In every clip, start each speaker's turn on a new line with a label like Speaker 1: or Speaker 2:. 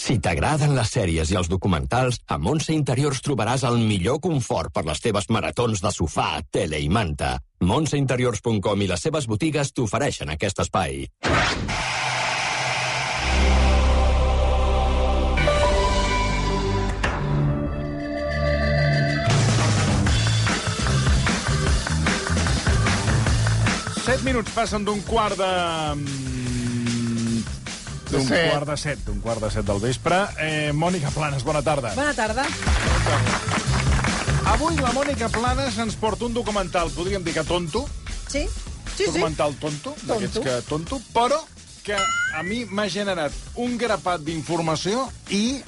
Speaker 1: Si t'agraden les sèries i els documentals, a Montse Interiors trobaràs el millor confort per les teves maratons de sofà, tele i manta. Montseinteriors.com i les seves botigues t'ofereixen aquest espai.
Speaker 2: Set minuts passen d'un quart de... mm, D'un
Speaker 3: set.
Speaker 2: quart de set, d'un quart de set del vespre. Eh, Mònica Planes, bona tarda.
Speaker 4: Bona tarda.
Speaker 2: Avui la Mònica Planes ens porta un documental, podríem dir que tonto,
Speaker 4: Sí? Sí,
Speaker 2: un
Speaker 4: sí.
Speaker 2: documental tonto, d'aquests que tonto, però que a mi m'ha generat un grapat d'informació i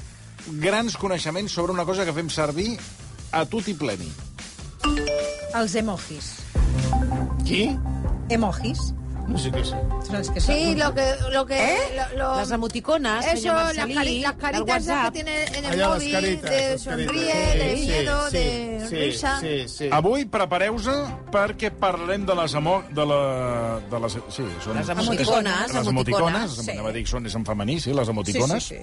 Speaker 2: grans coneixements sobre una cosa que fem servir a tot i pleni.
Speaker 4: Els emojis.
Speaker 3: ¿Qui?
Speaker 4: Emojis.
Speaker 3: No sé qué es.
Speaker 4: Són els que
Speaker 5: Sí,
Speaker 4: són...
Speaker 5: lo que... Lo que
Speaker 4: ¿Eh?
Speaker 5: lo- lo-
Speaker 6: Las emoticonas,
Speaker 5: Eso,
Speaker 6: señor
Speaker 5: las,
Speaker 6: Marcelí,
Speaker 5: cari- las
Speaker 6: del
Speaker 5: caritas esas
Speaker 6: WhatsApp.
Speaker 5: que tiene en el
Speaker 3: Allá las
Speaker 5: móvil,
Speaker 3: caritas.
Speaker 5: de
Speaker 3: las caritas.
Speaker 5: sonríe, de
Speaker 3: Sí,
Speaker 5: miedo,
Speaker 3: sí,
Speaker 5: de
Speaker 3: sí,
Speaker 5: risa.
Speaker 3: Sí, sí.
Speaker 2: Avui prepareu-se perquè parlem de les emo... de la... de les... Sí, són...
Speaker 6: Les emoticones,
Speaker 2: Les emoticones,
Speaker 4: sí.
Speaker 2: anava a dir que són és en femení, sí, les
Speaker 4: Sí, sí,
Speaker 2: emoticones.
Speaker 4: sí.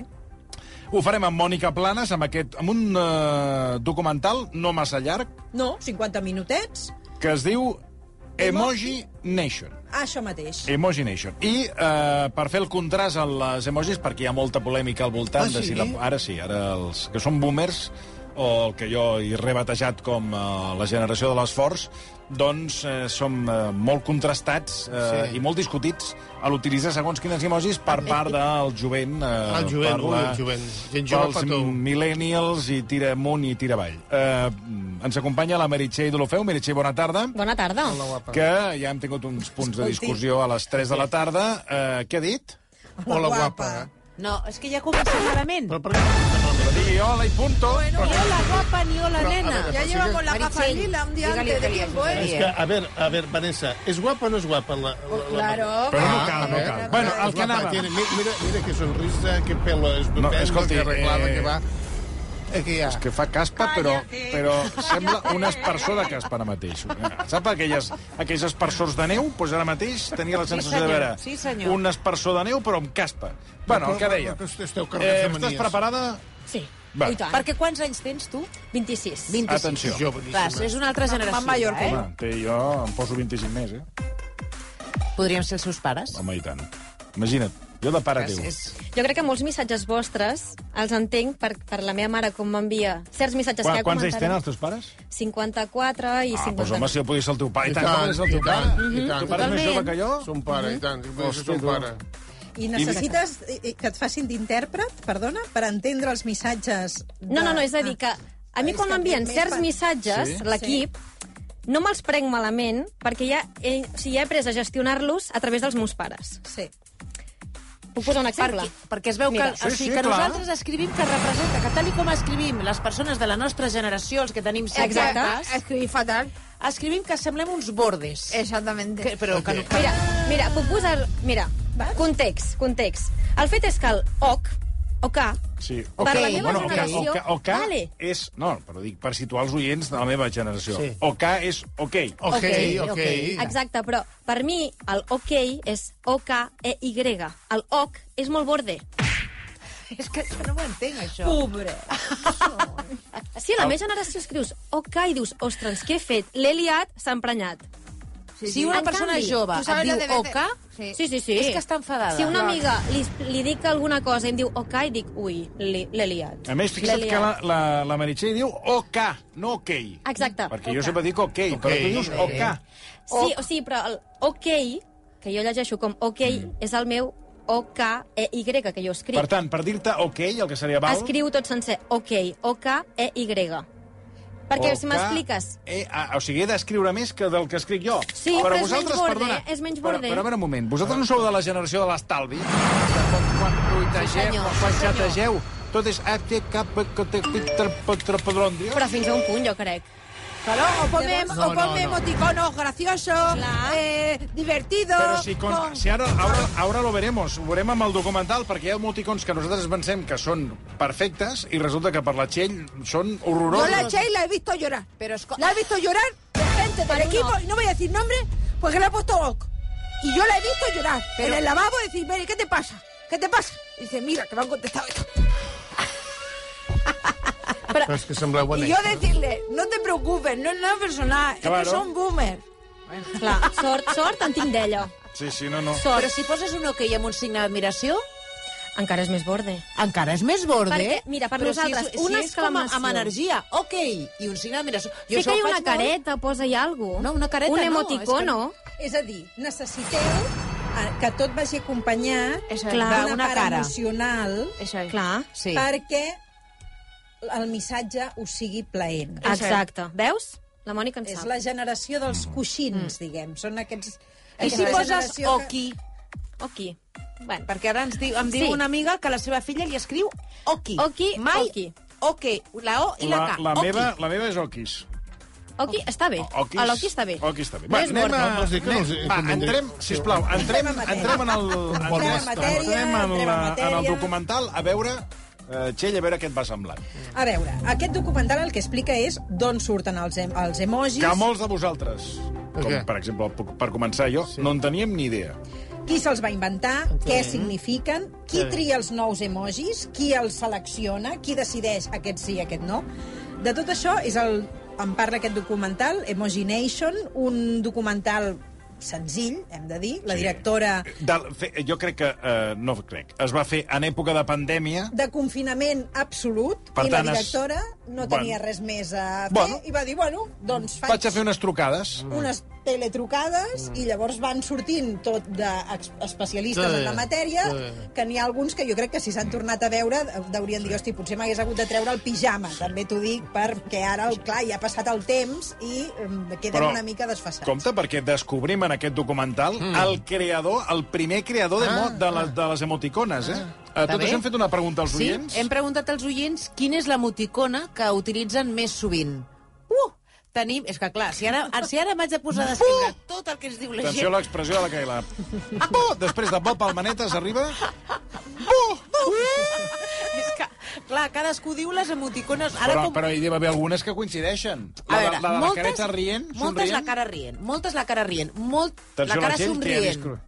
Speaker 2: Ho farem amb Mònica Planes, amb, aquest, amb un eh, documental no massa llarg,
Speaker 4: No, 50 minutets.
Speaker 2: que es diu Emoji Nation.
Speaker 4: Això mateix.
Speaker 2: Emoji Nation. I eh, per fer el contrast en les emojis, perquè hi ha molta polèmica al voltant...
Speaker 3: Ah,
Speaker 2: de
Speaker 3: sí?
Speaker 2: si la, ara sí, ara els que són boomers o el que jo hi he rebatejat com eh, la generació de l'esforç, doncs eh, som eh, molt contrastats eh,
Speaker 3: Sí. Ah,
Speaker 2: sí. i molt discutits a l'utilitzar segons quines emojis per part del jovent. Eh,
Speaker 3: El jovent,
Speaker 2: per
Speaker 3: ui, el jovent. Gent jove
Speaker 2: pels
Speaker 3: per tot.
Speaker 2: millennials i tira amunt i tira avall. Eh, ens acompanya la Meritxell Dolofeu. Meritxell, bona tarda.
Speaker 6: Bona tarda.
Speaker 3: Hola, guapa.
Speaker 2: Que ja hem tingut uns punts de discussió a les 3 de la tarda. Eh, què ha dit?
Speaker 3: Hola, guapa.
Speaker 6: No, és que ja comença malament.
Speaker 3: Però per què m'has dit
Speaker 2: Que digui hola i punto. Bueno,
Speaker 6: Ni hola guapa ni hola
Speaker 3: Però, a
Speaker 6: nena.
Speaker 3: veure,
Speaker 5: Ya
Speaker 3: Así
Speaker 5: llevamos la
Speaker 6: Meritxell,
Speaker 5: capa lila un día
Speaker 6: dígale
Speaker 5: antes de
Speaker 6: que le
Speaker 5: tiempo,
Speaker 6: ayude.
Speaker 3: És
Speaker 5: ¿eh?
Speaker 3: que, a veure, a veure, Vanessa, és guapa o no és guapa? La, la,
Speaker 5: Claro.
Speaker 2: Però no
Speaker 3: Ah,
Speaker 2: cal,
Speaker 3: a
Speaker 2: no
Speaker 3: veure, a
Speaker 2: cal.
Speaker 3: veure,
Speaker 2: Bueno,
Speaker 3: és
Speaker 2: el que
Speaker 3: guapa,
Speaker 2: anava...
Speaker 3: tiene- mi- Mira, mira que sonrisa, que pelo estupendo,
Speaker 2: escolti,
Speaker 3: que arreglada
Speaker 2: eh,
Speaker 3: que va. Eh, que ja.
Speaker 2: que fa caspa, però, però sembla un esparsor de caspa ara mateix. Sap aquelles, aquells esparsors de neu? Doncs ara mateix tenia la sensació de
Speaker 6: senyor,
Speaker 2: veure
Speaker 6: sí, senyor.
Speaker 2: un esparsor de neu, però amb caspa. Bueno, el que deia.
Speaker 3: Que esteu carregats
Speaker 2: Eh,
Speaker 3: de manies.
Speaker 2: estàs preparada?
Speaker 7: Sí,
Speaker 2: Va.
Speaker 7: i tant.
Speaker 6: Perquè quants anys tens tu?
Speaker 7: 26.
Speaker 6: 26.
Speaker 2: Atenció.
Speaker 3: Jo,
Speaker 6: Clar, és una altra generació.
Speaker 4: Mamà Mallorca.
Speaker 6: eh?
Speaker 2: Home, té, jo em poso 25 més, eh?
Speaker 6: Podríem ser els seus pares.
Speaker 2: Home, i tant. Imagina't, jo de pare teu.
Speaker 6: És-
Speaker 7: Jo crec que molts missatges vostres els entenc per, per la meva mare, com m'envia certs missatges
Speaker 2: Qua,
Speaker 7: que
Speaker 2: quants anys tenen
Speaker 7: comentaré.
Speaker 2: els teus pares?
Speaker 7: 54 i
Speaker 2: Ah,
Speaker 7: 50.
Speaker 2: doncs home, si jo podia ser el teu pare.
Speaker 3: I
Speaker 2: I tant,
Speaker 3: tant,
Speaker 2: com és el
Speaker 3: i
Speaker 2: teu
Speaker 3: tant,
Speaker 2: pare.
Speaker 3: i tant.
Speaker 2: Tu pare és més jove que jo?
Speaker 3: Son pare, i tant. Hòstia,
Speaker 2: Hòstia,
Speaker 3: son
Speaker 2: tu.
Speaker 3: pare.
Speaker 4: I necessites eh, eh, que et facin d'intèrpret, perdona, per entendre els missatges... De... Ah,
Speaker 7: No, no, no, és a dir que a mi
Speaker 4: És
Speaker 7: quan
Speaker 4: que
Speaker 7: m'envien
Speaker 4: més
Speaker 7: certs
Speaker 4: per-
Speaker 7: missatges,
Speaker 2: Sí?
Speaker 7: l'equip, no me'ls prenc malament perquè ja he, o sigui, ja he après a gestionar-los a través dels meus pares.
Speaker 4: Sí.
Speaker 7: Puc posar un exemple?
Speaker 6: Perquè, perquè es veu que,
Speaker 7: Mira.
Speaker 6: o
Speaker 2: Sí,
Speaker 6: sigui,
Speaker 2: sí,
Speaker 6: que
Speaker 2: clar.
Speaker 6: nosaltres escrivim que representa, que tal i com escrivim les persones de la nostra generació, els que tenim 16
Speaker 7: Exacte.
Speaker 4: Ah.
Speaker 6: anys,
Speaker 5: Escribí fatal.
Speaker 6: escrivim que semblem uns bordes.
Speaker 5: Eh, Exactamente.
Speaker 6: Que, però que, no-
Speaker 7: Mira, mira, puc posar... Mira, context, context. El fet és que el OC, o K,
Speaker 2: Sí.
Speaker 7: Per la meva
Speaker 2: bueno,
Speaker 7: generació,
Speaker 2: O, o, o, K
Speaker 7: vale.
Speaker 2: és... No, però dic per situar els oients de la meva generació.
Speaker 3: Sí.
Speaker 2: O K és ok.
Speaker 3: Ok, ok.
Speaker 6: ok.
Speaker 7: Exacte, però per mi el OK és O-K-E-Y. El OC és molt borde.
Speaker 6: és que jo no ho entenc, això.
Speaker 4: Pobre.
Speaker 7: Si a la meva generació escrius OK i dius, ostres, què he fet? L'he liat, s'ha emprenyat.
Speaker 6: Si una
Speaker 7: En
Speaker 6: persona
Speaker 7: canvi,
Speaker 6: jove
Speaker 5: tu sabes
Speaker 6: et
Speaker 5: la de
Speaker 6: diu
Speaker 5: veces-
Speaker 6: oca,
Speaker 5: Sí.
Speaker 7: Sí, sí, sí.
Speaker 6: És que està enfadada.
Speaker 7: Si una amiga li, li dic alguna cosa i em diu OK, dic, ui, li- l'he liat.
Speaker 2: A més, fixa't
Speaker 7: L'he
Speaker 2: que la,
Speaker 7: liat.
Speaker 2: la, la Meritxell diu OK, no ok.
Speaker 7: Exacte.
Speaker 2: Perquè jo
Speaker 7: OK.
Speaker 2: sempre dic ok, però tu dius OK.
Speaker 7: Sí, o sigui, però el OK, que jo llegeixo com OK, és el meu O-K-E-Y, que jo escric.
Speaker 2: Mm. Per tant, per dir-te ok, el que seria val...
Speaker 7: Escriu tot sencer OK, O-K-E-Y. Perquè si
Speaker 2: OK,
Speaker 7: m'expliques
Speaker 2: Eh, ah, o sigui, he d'escriure més que del que escric jo.
Speaker 7: Sí, però és menys borde, és menys borde.
Speaker 2: Però, però a veure un moment, vosaltres no sou de la generació de l'estalvi? Quan, quan tuitegeu,
Speaker 6: Sí, senyor,
Speaker 2: quan
Speaker 6: sí, senyor.
Speaker 2: xategeu, tot és... Ah, té cap... que té- que té- trapodrondrio.
Speaker 7: Però fins a un punt, jo crec.
Speaker 5: Claro, o ponme,
Speaker 3: No,
Speaker 5: o ponme
Speaker 3: no, no.
Speaker 5: emoticonos graciosos, eh, divertidos.
Speaker 2: Però si, con,
Speaker 5: con-
Speaker 2: si ara, ara, ara lo veremos, ho veurem amb el documental, perquè hi ha emoticons que nosaltres pensem que són perfectes i resulta que per la Txell són
Speaker 5: Yo
Speaker 2: horrorosos.
Speaker 5: la eché y la he visto llorar.
Speaker 6: Pero es co-
Speaker 5: La he visto llorar de gente del equipo, y no voy a decir nombre, porque le ha puesto OK. Y yo la he visto llorar. Pero... En el lavabo decir, Mary, ¿qué te pasa? ¿Qué te pasa? Y dice, mira, que me han contestado esto.
Speaker 3: Però és que sembleu bona.
Speaker 5: Y yo decirle, no te preocupes, no es nada personal, es
Speaker 2: Claro.
Speaker 5: que son boomer.
Speaker 7: Clar, sort, sort en tinc d'ella.
Speaker 2: Sí, sí, no, no.
Speaker 7: Sort.
Speaker 6: Però si poses un ok amb un signe d'admiració,
Speaker 7: Encara és més borde.
Speaker 6: encara és més borde. eh?
Speaker 7: Perquè, mira, per
Speaker 6: Però
Speaker 7: nosaltres,
Speaker 6: si és,
Speaker 7: una
Speaker 6: si és com a- amb
Speaker 7: exclamació.
Speaker 6: energia, ok, i un signe d'admiració... Jo
Speaker 7: Sé
Speaker 6: això
Speaker 7: que hi
Speaker 6: ho
Speaker 7: ha una
Speaker 6: faig molt.
Speaker 7: careta, posa-hi alguna
Speaker 6: No, una careta
Speaker 7: Un
Speaker 6: no,
Speaker 7: emoticono. No,
Speaker 4: És a dir, necessiteu eh, que tot vagi acompanyat
Speaker 6: Això és,
Speaker 7: Clar,
Speaker 4: d'una
Speaker 6: una
Speaker 4: part
Speaker 6: cara.
Speaker 4: emocional
Speaker 6: Això és.
Speaker 7: Clar.
Speaker 6: Sí.
Speaker 4: perquè el missatge us sigui plaent.
Speaker 7: Exacte. Veus? La Mònica en
Speaker 4: És
Speaker 7: sap.
Speaker 4: la generació dels coixins, diguem. Són aquests...
Speaker 6: Mm. I si
Speaker 4: aquesta
Speaker 6: poses
Speaker 4: generació que-
Speaker 6: oki?
Speaker 7: Oki. Bueno,
Speaker 6: Perquè ara ens diu, em diu
Speaker 7: Sí.
Speaker 6: una amiga que la seva filla li escriu oki.
Speaker 7: Oki,
Speaker 6: Mai
Speaker 7: oki.
Speaker 6: Ok, la O i la,
Speaker 2: La,
Speaker 6: K.
Speaker 2: la,
Speaker 6: oki.
Speaker 2: meva, la meva és Okis.
Speaker 7: Oki està bé.
Speaker 2: Okis,
Speaker 7: L'Oki està bé.
Speaker 2: Oki està bé.
Speaker 7: No és
Speaker 2: anem
Speaker 7: gordo.
Speaker 2: a...
Speaker 3: vols dir que no els-
Speaker 2: Va,
Speaker 3: convindré?
Speaker 2: entrem, sisplau, entrem,
Speaker 4: Entrem en matèria.
Speaker 2: entrem en el...
Speaker 4: Entrem en matèria,
Speaker 2: entrem en,
Speaker 4: entrem en
Speaker 2: la, en el
Speaker 4: matèria.
Speaker 2: documental a veure... Eh, Txell, a veure què et va semblant.
Speaker 4: A veure, aquest documental el que explica és d'on surten els, em els emojis,
Speaker 2: Que molts de vosaltres, com
Speaker 3: Què?
Speaker 2: per exemple, puc- per començar jo, no en teníem ni idea.
Speaker 4: qui se'ls va inventar, què significan, qui tria els nous emojis, qui els selecciona, qui decideix aquest sí i aquest no. De tot això és el, en parla aquest documental, Emoji Nation, un documental senzill, hem de dir, la
Speaker 2: Sí.
Speaker 4: directora
Speaker 2: Del, fe, jo crec que... Eh, no crec. Es va fer en època de pandèmia.
Speaker 4: de confinament absolut
Speaker 2: Per
Speaker 4: i la
Speaker 2: tant, es-
Speaker 4: directora no
Speaker 2: Bueno.
Speaker 4: tenia res més a fer
Speaker 2: Bueno.
Speaker 4: i va dir, bueno, doncs faig...
Speaker 2: Vaig a fer unes trucades.
Speaker 4: unes teletrucades mm. i llavors van sortint tot d'especialistes
Speaker 3: Sí,
Speaker 4: sí, en la matèria,
Speaker 3: sí.
Speaker 4: sí. que n'hi ha alguns que jo crec que si s'han tornat a veure eh, deurien dir, hosti, potser m'hagués hagut de treure el pijama, també t'ho dic, perquè ara, clar, ja ha passat el temps i em, queden
Speaker 2: Però,
Speaker 4: una mica desfassats.
Speaker 2: Compte, perquè descobrim en aquest documental mm. el creador, el primer creador ah, de, de, la, de les emoticones, eh? Ah.
Speaker 6: Està
Speaker 2: Tot
Speaker 6: bé.
Speaker 2: això hem fet una pregunta als
Speaker 6: Sí,
Speaker 2: oients.
Speaker 6: hem preguntat als oients quina és l'emoticona que utilitzen més sovint. Uh! Tenim... És que, clar, si ara, si ara m'haig de posar a descriure tot el que ens diu la
Speaker 2: Uh! Atenció a
Speaker 6: gent...
Speaker 2: l'expressió de la Caila. Buh! Després de Bob Palmanetes arriba...
Speaker 6: És que, clar, cadascú diu les emoticones... Ara
Speaker 2: Però,
Speaker 6: com...
Speaker 2: però hi deu haver algunes que coincideixen. La, de-
Speaker 6: A veure,
Speaker 2: la de la
Speaker 6: moltes,
Speaker 2: careta rient,
Speaker 6: moltes la
Speaker 2: somrient...
Speaker 6: cara rient, moltes la cara rient, molt
Speaker 2: Atenció
Speaker 6: la cara
Speaker 2: Txell, que hi ha
Speaker 6: somrient.
Speaker 2: discre-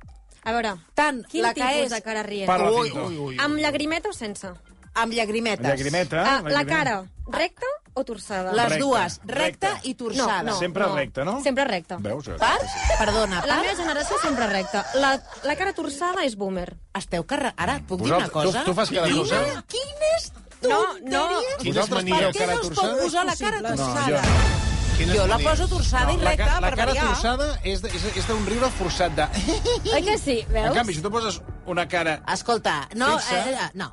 Speaker 7: A veure,
Speaker 6: Tant
Speaker 7: quin
Speaker 6: la que
Speaker 7: tipus
Speaker 6: és-
Speaker 7: de cara rient?
Speaker 2: Parla,
Speaker 6: Ui,
Speaker 2: Pinto.
Speaker 3: ui, ui.
Speaker 7: Amb llagrimeta o sense?
Speaker 6: Amb llagrimetes.
Speaker 2: Llagrimeta.
Speaker 7: Ah, la
Speaker 2: llagrimeta.
Speaker 7: cara, recta o torçada?
Speaker 6: Les
Speaker 2: Recta,
Speaker 6: dues, recta,
Speaker 2: recta.
Speaker 6: i torçada.
Speaker 7: No,
Speaker 2: Sempre recta, no?
Speaker 7: Sempre recta.
Speaker 2: Veus? Ah. eh?
Speaker 6: Per? Perdona,
Speaker 7: La
Speaker 6: per?
Speaker 7: meva generació sempre recta. La, la cara torçada és boomer.
Speaker 6: Esteu carre... Ara, et puc dir una
Speaker 2: Vosaltres-
Speaker 6: cosa?
Speaker 2: Tu, tu fas cara
Speaker 6: Quina-
Speaker 2: cosa?
Speaker 6: Quines
Speaker 7: No,
Speaker 6: tonteries?
Speaker 7: no.
Speaker 3: Quines
Speaker 2: Vosaltres
Speaker 3: manies.
Speaker 6: Per què no es pot posar la cara
Speaker 4: No,
Speaker 6: torçada?
Speaker 3: Quines
Speaker 6: jo la
Speaker 3: manies.
Speaker 6: poso torçada i
Speaker 2: La,
Speaker 6: recta
Speaker 2: ca- la
Speaker 6: per
Speaker 2: cara
Speaker 6: variar.
Speaker 2: torçada és de- és- és d'un riure forçat de...
Speaker 7: Oi que sí?
Speaker 2: En
Speaker 7: Veus?
Speaker 2: canvi, si tu poses una cara...
Speaker 6: Escolta, no,
Speaker 2: Fixa.
Speaker 6: eh, eh, no.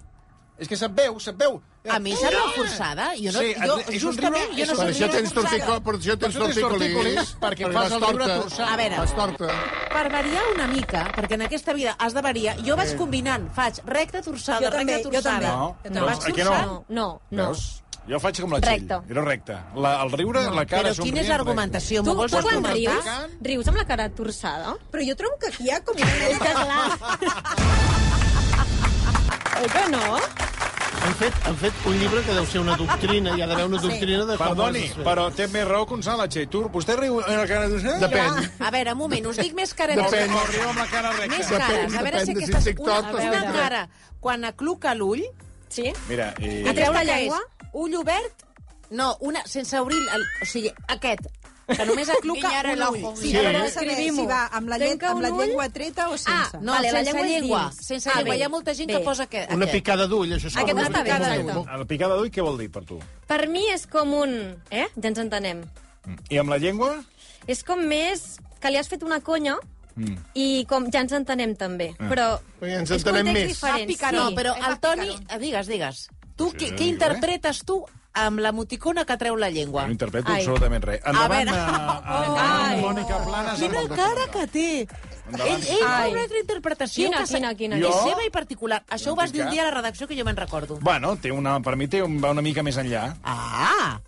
Speaker 2: És que se't veu, se't veu. Eh,
Speaker 6: A mi sembla forçada. Jo no,
Speaker 2: Sí,
Speaker 6: jo,
Speaker 2: és un
Speaker 6: justament,
Speaker 2: riure-
Speaker 6: jo
Speaker 2: és
Speaker 3: Per
Speaker 6: no
Speaker 2: un
Speaker 3: això
Speaker 6: soc
Speaker 2: riure
Speaker 6: una
Speaker 3: tens
Speaker 6: forçada.
Speaker 3: torticolis,
Speaker 2: Per això
Speaker 3: per això tens
Speaker 2: tens torticolis,
Speaker 3: torticolis,
Speaker 2: perquè fas el riure torçat.
Speaker 6: A veure.
Speaker 3: Fas torta.
Speaker 6: Per variar una mica, perquè en aquesta vida has de variar, jo vaig combinant, faig recta torçada,
Speaker 4: Jo també,
Speaker 6: recta
Speaker 4: jo també.
Speaker 6: torçada.
Speaker 2: No,
Speaker 6: Te'n
Speaker 2: no,
Speaker 6: vaig
Speaker 2: aquí
Speaker 6: torçant.
Speaker 7: No, no, no.
Speaker 2: Veus? Jo faig com la Txell.
Speaker 7: Recta.
Speaker 2: Era recta. La, el riure, la cara...
Speaker 6: Però quina és
Speaker 2: somrient,
Speaker 6: l'argumentació?
Speaker 7: Tu,
Speaker 6: M'ho vols
Speaker 7: tu quan
Speaker 6: argumentar?
Speaker 7: rius, rius amb la cara torçada?
Speaker 4: Però jo trobo que aquí hi ha com una
Speaker 7: És que clar... Oi que no?
Speaker 3: Han fet, han fet un llibre que deu ser una doctrina, hi ha d'haver una doctrina de com
Speaker 2: Perdoni,
Speaker 3: has de fer.
Speaker 2: però té més raó que un sal, la Txell. Tu, vostè riu amb la cara... De...
Speaker 3: Depèn.
Speaker 6: A veure, un moment, us dic més caretes.
Speaker 3: Depèn.
Speaker 2: O riu amb la cara
Speaker 6: Més
Speaker 2: recta.
Speaker 6: cares. A veure
Speaker 3: depèn de
Speaker 6: si
Speaker 3: si
Speaker 6: aquesta és
Speaker 3: TikTok
Speaker 6: una,
Speaker 3: o
Speaker 6: una
Speaker 3: Snapchat.
Speaker 6: cara. Quan acluca l'ull,
Speaker 7: Sí?
Speaker 2: Mira,
Speaker 7: A
Speaker 2: eh,
Speaker 7: tres-
Speaker 6: aquesta
Speaker 7: la
Speaker 6: que
Speaker 7: llengua?
Speaker 6: és ull obert, no, una, sense obrir... El, o sigui, aquest, que només acluca
Speaker 5: Guiñar el
Speaker 6: un ull.
Speaker 5: ojo.
Speaker 4: Sí,
Speaker 7: a
Speaker 4: sí.
Speaker 7: veure,
Speaker 4: saber
Speaker 7: escrivim-ho.
Speaker 4: si va amb la, llet,
Speaker 7: Trenca
Speaker 4: amb la
Speaker 7: un ull.
Speaker 4: llengua treta o sense.
Speaker 7: Ah,
Speaker 6: No,
Speaker 7: Vale, la
Speaker 6: sense
Speaker 7: llengua és
Speaker 6: llengua.
Speaker 7: dins.
Speaker 6: Sense
Speaker 7: Ah,
Speaker 6: llengua.
Speaker 7: bé.
Speaker 6: Hi ha molta gent
Speaker 7: Bé.
Speaker 6: que posa aquest.
Speaker 3: Una
Speaker 6: aquest.
Speaker 3: picada d'ull, això és com
Speaker 7: Aquest
Speaker 3: una
Speaker 7: està bé,
Speaker 3: picada
Speaker 7: exacte.
Speaker 3: d'ull.
Speaker 2: la picada d'ull què vol dir per tu?
Speaker 7: Per mi és com un... Eh? Ja ens entenem.
Speaker 2: I amb la llengua?
Speaker 7: És com més que li has fet una conya
Speaker 2: Mm. Ah.
Speaker 7: i com ja ens entenem també. Però
Speaker 3: Però ja ens
Speaker 7: és
Speaker 3: entenem
Speaker 7: context
Speaker 3: més.
Speaker 7: diferent.
Speaker 6: Ah, picaró,
Speaker 7: sí.
Speaker 6: però
Speaker 5: És
Speaker 6: el
Speaker 5: más
Speaker 6: Toni... eh,
Speaker 5: picaró.
Speaker 6: Digues, digues. Tu, què,
Speaker 2: eh?
Speaker 6: què interpretes tu amb l'emoticona que treu la llengua?
Speaker 2: No interpreto
Speaker 7: Ai.
Speaker 2: absolutament res. Endavant,
Speaker 6: veure. Oh,
Speaker 2: eh,
Speaker 6: Ai.
Speaker 2: endavant Mònica Planes. amb
Speaker 6: Quina
Speaker 2: el
Speaker 6: cara
Speaker 2: documental.
Speaker 6: que té! Ell, ell fa
Speaker 7: Ai.
Speaker 6: una altra interpretació
Speaker 7: Quina,
Speaker 6: que se-
Speaker 7: quina, quina.
Speaker 2: Jo?
Speaker 6: és seva i particular. Això
Speaker 2: No
Speaker 6: ho vas
Speaker 2: tinc
Speaker 6: dir un
Speaker 2: cap.
Speaker 6: dia a la redacció que jo me'n recordo.
Speaker 2: Bueno, té una, per mi té un, va una mica més enllà.
Speaker 6: Ah!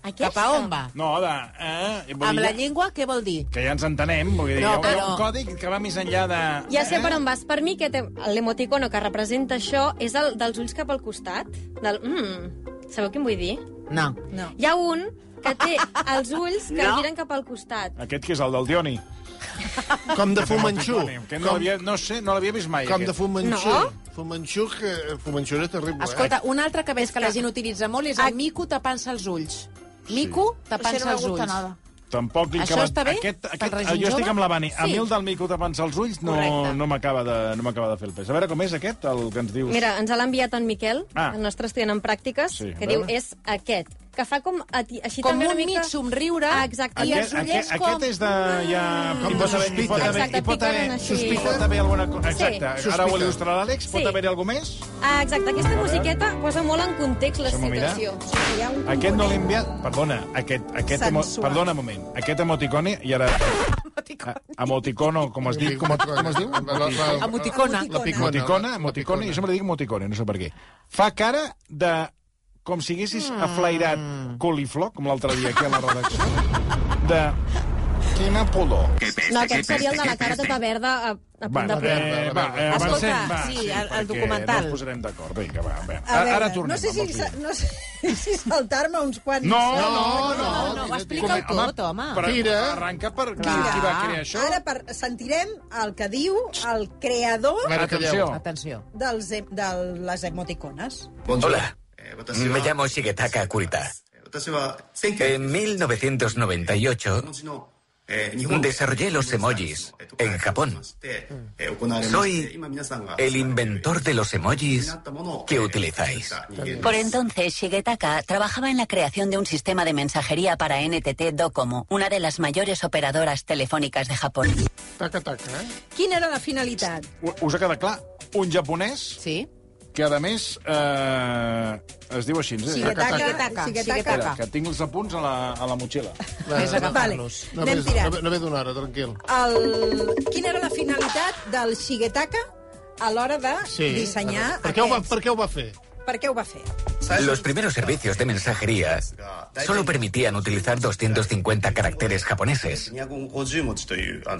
Speaker 7: Aquesta?
Speaker 6: Cap a on va?
Speaker 2: No, de... Eh, vull
Speaker 6: Amb
Speaker 2: dir,
Speaker 6: la
Speaker 2: ja-
Speaker 6: llengua què vol dir?
Speaker 2: Que ja ens entenem, vull dir, no, hi
Speaker 6: No,
Speaker 2: ha
Speaker 6: però-
Speaker 2: un còdic que va més enllà de...
Speaker 7: Ja sé per on vas. Per mi aquest l'emoticono que representa això és el dels ulls cap al costat. Del... Mm, sabeu què em vull dir?
Speaker 6: No.
Speaker 4: No.
Speaker 7: Hi ha un que té els ulls que no. giren cap al costat.
Speaker 2: Aquest que és el del Dioni.
Speaker 3: Com de Fumanxú.
Speaker 2: Que no,
Speaker 3: Com,
Speaker 2: l'havia- no sé, no l'havia vist mai.
Speaker 3: com de
Speaker 2: aquest.
Speaker 3: Fumanxú.
Speaker 7: No?
Speaker 3: Fumanxuc, eh, Fumanxuc és terrible.
Speaker 6: Escolta, un altre que veig que la gent utilitza molt és el mico tapant-se els ulls. Mico
Speaker 5: Això
Speaker 6: tapant-se
Speaker 5: no
Speaker 6: els
Speaker 5: m'agusta
Speaker 6: ulls.
Speaker 5: nada.
Speaker 2: Tampoc li
Speaker 6: Això
Speaker 2: acaba...
Speaker 6: està bé
Speaker 2: Aquest,
Speaker 6: per
Speaker 2: aquest,
Speaker 6: la gent
Speaker 2: jo estic
Speaker 6: jove?
Speaker 2: amb la Bani. A
Speaker 6: Sí.
Speaker 2: mi el del mico tapant-se els ulls no,
Speaker 6: Correcte.
Speaker 2: no m'acaba de, no m'acaba de fer el pes. A veure com és aquest, el que ens dius.
Speaker 7: Mira, ens l'ha enviat en Miquel,
Speaker 2: Ah.
Speaker 7: el nostre estudiant en pràctiques,
Speaker 2: Sí, a
Speaker 7: que diu,
Speaker 2: veure.
Speaker 7: és aquest, que fa com ati- així
Speaker 6: Com
Speaker 7: també
Speaker 6: un
Speaker 7: una mica...
Speaker 6: mig somriure
Speaker 7: Ah, exacte.
Speaker 6: i els
Speaker 2: aquest,
Speaker 6: ullets
Speaker 2: aquest,
Speaker 6: com... Ah.
Speaker 2: aquest és de... Ja...
Speaker 3: Com
Speaker 2: hi
Speaker 3: de
Speaker 2: pot haver-
Speaker 3: sospita.
Speaker 2: hi pot haver-
Speaker 7: Exacte,
Speaker 2: hi pot haver-
Speaker 7: piquen així.
Speaker 2: Hi pot haver alguna cosa...
Speaker 7: Sí.
Speaker 2: Exacte, ara ho
Speaker 3: Sospita.
Speaker 2: il·lustrarà l'Àlex.
Speaker 7: Sí.
Speaker 2: Pot haver-hi algú més?
Speaker 7: Ah, exacte, aquesta musiqueta posa molt en context la
Speaker 2: Deixa'm-ho mirar.
Speaker 7: situació.
Speaker 4: Hi ha un
Speaker 2: Aquest no l'he
Speaker 4: component-
Speaker 2: enviat... Perdona, aquest... aquest emo...
Speaker 4: Sensual.
Speaker 2: Perdona un moment. Aquest emoticoni... I ara... A- Emoticono, com es diu? Com, com es diu?
Speaker 6: Emoticona.
Speaker 3: La picona.
Speaker 2: Moticona, moticona, jo sempre dic moticona, no sé per què. Fa cara de com si haguessis aflairat coliflor, com l'altre dia aquí a la redacció, de quina pudor.
Speaker 7: No, aquest seria el de la cara tota verda a, a punt de plor.
Speaker 2: eh, va, eh,
Speaker 6: Escolta,
Speaker 2: avancem, va.
Speaker 6: sí, el- el
Speaker 2: perquè
Speaker 6: documental.
Speaker 2: No ens posarem d'acord, vinga, va. va.
Speaker 4: A veure,
Speaker 2: ara tornem.
Speaker 4: no sé si,
Speaker 2: amb el
Speaker 4: sa- no sé si saltar-me uns quants...
Speaker 2: No, no,
Speaker 3: No, no,
Speaker 6: No, no, ho
Speaker 3: tira, tira.
Speaker 6: explica-ho tot, home.
Speaker 2: Però
Speaker 3: Tira.
Speaker 2: arrenca per qui,
Speaker 6: Clar.
Speaker 2: qui va crear això.
Speaker 4: Ara per, sentirem el que diu el creador
Speaker 3: A veure,
Speaker 2: Atenció.
Speaker 3: calleu.
Speaker 6: Atenció.
Speaker 4: dels, em- de les emoticones.
Speaker 8: Hola, me
Speaker 9: Me llamo...
Speaker 8: llamo Shigetaka Kurita. En 1998
Speaker 9: Desarrollé los emojis en Japón. Soy
Speaker 8: el inventor de los emojis que utilizáis.
Speaker 10: Por entonces, Shigetaka trabajaba en la creación de un sistema de mensajería para NTT Docomo, una de las mayores operadoras telefónicas de Japón.
Speaker 3: Taca, taca, eh?
Speaker 4: Quina era la finalitat?
Speaker 2: U- Us ha quedat clar? Un japonès
Speaker 6: Sí?
Speaker 2: que, a més, eh, es diu així. eh?
Speaker 4: Shigetaka.
Speaker 6: Shigetaka.
Speaker 2: Espera,
Speaker 4: Shigetaka.
Speaker 2: que tinc els apunts a la, a la motxilla.
Speaker 6: Vés a
Speaker 4: Vale,
Speaker 6: agafar-los.
Speaker 3: No
Speaker 4: anem
Speaker 3: ve, no,
Speaker 4: tirant.
Speaker 3: ve, no ve d'una hora, tranquil.
Speaker 4: El... Quina era la finalitat del Shigetaka a l'hora de
Speaker 3: Sí.
Speaker 4: dissenyar
Speaker 3: per què, ho va,
Speaker 4: aquests?
Speaker 3: per què ho va fer?
Speaker 4: Per què ho va fer?
Speaker 8: Los primeros servicios de mensajería solo permitían utilizar 250 caracteres japoneses.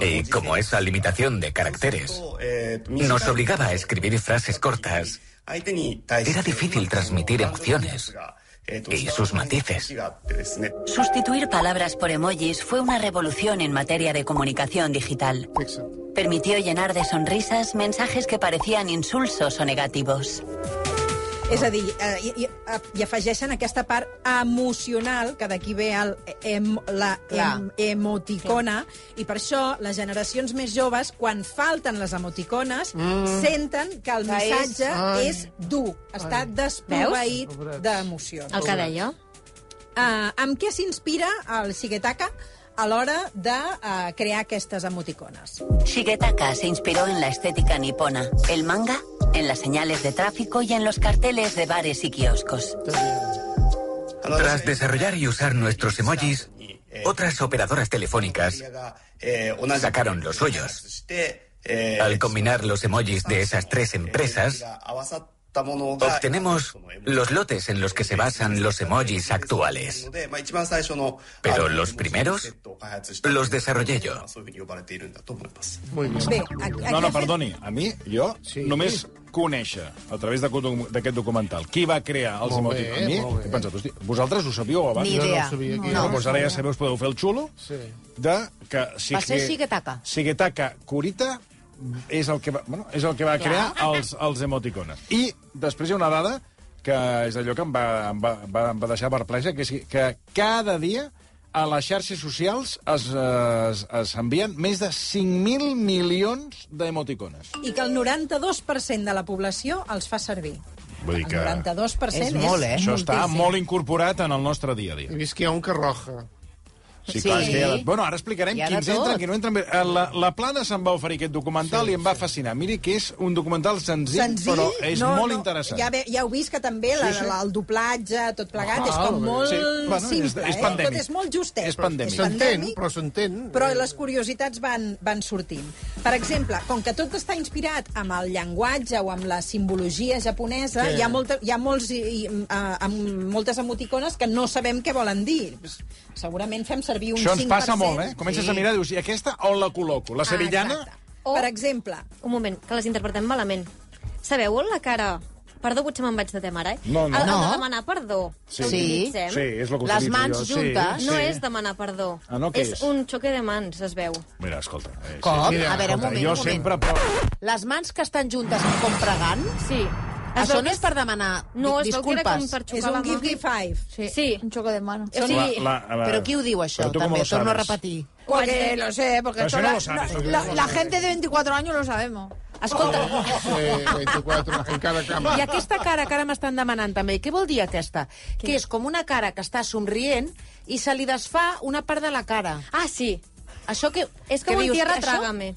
Speaker 8: Y como esa limitación de caracteres nos obligaba a escribir frases cortas,
Speaker 9: Era difícil transmitir emociones y sus matices.
Speaker 10: Sustituir palabras por emojis fue una revolución en materia de comunicación digital.
Speaker 3: Fixa't.
Speaker 10: Permitió llenar de sonrisas mensajes que parecían insulsos o negativos.
Speaker 4: És a dir, eh, i, i, eh, i afegeixen aquesta part emocional, que d'aquí ve el, em, la em, emoticona, i per això les generacions més joves, quan falten les emoticones, mm. senten que el
Speaker 6: Que és-
Speaker 4: missatge
Speaker 3: Ai.
Speaker 4: és, dur, està desproveït d'emoció.
Speaker 7: El que deia.
Speaker 4: Uh, amb què s'inspira el Shigetaka a l'hora de uh, crear aquestes emoticones?
Speaker 10: Shigetaka se inspiró en la estética nipona, el manga, en las señales de tráfico y en los carteles de bares y kioscos.
Speaker 8: tras desarrollar y usar nuestros emojis, otras operadoras telefónicas
Speaker 9: eh, sacaron los suyos.
Speaker 8: Al combinar los emojis de esas tres empresas,
Speaker 9: obtenemos los lotes en los que se basan los emojis actuales. Pero los primeros los desarrollé yo.
Speaker 3: Muy bien.
Speaker 4: Bé, a, a
Speaker 2: No, no, perdoni. A mi, jo, sí. només conèixer, a través d'aquest docu- d'aquest documental, qui va crear els
Speaker 3: Molt bé,
Speaker 2: emoticons. A mi,
Speaker 3: molt bé.
Speaker 2: he pensat, hosti, vosaltres ho sabíeu abans?
Speaker 6: Ni
Speaker 3: Jo no
Speaker 6: idea.
Speaker 3: ho sabia. Aquí. eh?
Speaker 2: No, doncs ara ja sabeu, us podeu fer el xulo,
Speaker 3: Sí.
Speaker 2: de que... Si
Speaker 6: Va ser Shigetaka.
Speaker 2: Shigetaka Kurita és el que va, bueno, és el que va crear els, els emoticones. I després hi ha una dada que és allò que em va, em va, va, em va deixar perpleja, que és que cada dia a les xarxes socials es, es, es envien més de 5.000 milions d'emoticones.
Speaker 4: i que el 92% de la població els fa servir.
Speaker 2: Vull dir que-
Speaker 4: El 92%
Speaker 6: És molt, eh?
Speaker 2: Això està molt incorporat en el nostre dia a dia.
Speaker 3: He vist que hi ha un que roja.
Speaker 2: Sí,
Speaker 6: Sí.
Speaker 2: clar, és que hi ha de... Bueno, ara explicarem
Speaker 6: Hi ha
Speaker 2: quins
Speaker 6: de tot.
Speaker 2: entren, qui no entren. Bé, eh, La, la Plana se'n va oferir aquest documental sí, i em va fascinar. Miri que és un documental senzill,
Speaker 4: Senzill,
Speaker 2: però és
Speaker 4: no,
Speaker 2: molt
Speaker 4: no,
Speaker 2: interessant.
Speaker 4: Ja, ve, ja heu vist que també la,
Speaker 2: Sí, sí.
Speaker 4: La, el doblatge, tot plegat,
Speaker 3: Ah,
Speaker 4: és com
Speaker 3: bé.
Speaker 4: molt
Speaker 2: Sí,
Speaker 4: sí.
Speaker 2: bueno, és-
Speaker 4: simple.
Speaker 2: és
Speaker 4: eh?
Speaker 2: pandèmic.
Speaker 4: Tot és molt justet.
Speaker 2: És pandèmic.
Speaker 4: És
Speaker 3: S'entén,
Speaker 4: pandèmic,
Speaker 3: però s'entén.
Speaker 4: però les curiositats van, van sortint. Per exemple, com que tot està inspirat amb el llenguatge o amb la simbologia japonesa,
Speaker 3: Sí.
Speaker 4: hi ha, molta, hi ha molts, i, i, mm, a, amb moltes emoticones que no sabem què volen dir. Segurament fem servir un 5%.
Speaker 2: Això ens passa molt, eh? Comences sí. a mirar i dius, i aquesta on la col·loco? La sevillana?
Speaker 4: Ah, exacte. per exemple,
Speaker 7: Un moment, que les interpretem malament. Sabeu la cara Perdó, potser me'n vaig de tema ara, eh?
Speaker 2: No, no.
Speaker 7: El, el
Speaker 2: No.
Speaker 7: de demanar perdó.
Speaker 2: Sí.
Speaker 7: que utilitzem,
Speaker 2: Sí, és el que Les utilitzo mans jo, sí, juntes.
Speaker 7: No
Speaker 2: sí.
Speaker 7: és demanar perdó.
Speaker 2: Ah, no, què
Speaker 7: és,
Speaker 2: és?
Speaker 7: un xoque de mans, es veu.
Speaker 2: Mira, escolta. Eh,
Speaker 6: Com?
Speaker 2: sí,
Speaker 6: A veure, un moment,
Speaker 2: jo
Speaker 6: un moment.
Speaker 2: sempre... Però...
Speaker 6: Les mans que estan juntes com pregant?
Speaker 7: Sí.
Speaker 6: Això
Speaker 7: veu
Speaker 6: no
Speaker 7: que
Speaker 6: és per demanar
Speaker 7: No,
Speaker 6: di-
Speaker 7: es veu que era
Speaker 6: disculpes.
Speaker 7: com per
Speaker 4: És
Speaker 7: xocar
Speaker 4: un
Speaker 7: la mà.
Speaker 4: give me five.
Speaker 7: Sí. sí.
Speaker 5: Un xoco de mano.
Speaker 7: O sigui,
Speaker 6: Però qui ho diu, això?
Speaker 2: Però tu com
Speaker 6: També,
Speaker 2: ho sabes?
Speaker 6: torno a repetir.
Speaker 5: Porque lo sé, porque
Speaker 2: Pero
Speaker 5: esto
Speaker 2: eso no
Speaker 5: la-
Speaker 2: lo sabes,
Speaker 5: no,
Speaker 2: eso
Speaker 5: la,
Speaker 2: no lo
Speaker 5: la
Speaker 2: sabes.
Speaker 5: gente de 24 años lo sabemos.
Speaker 6: Escolta,
Speaker 2: Oh.
Speaker 11: Eh, 24 en cada cama.
Speaker 6: i aquesta cara que ara m'estan demanant també, què vol dir aquesta? Que és com una cara que està somrient i se li desfà una part de la cara.
Speaker 7: Ah, sí.
Speaker 6: Això que...
Speaker 7: És com
Speaker 6: que
Speaker 7: un
Speaker 6: dius,
Speaker 7: tierra
Speaker 6: "Això?"
Speaker 7: trágame,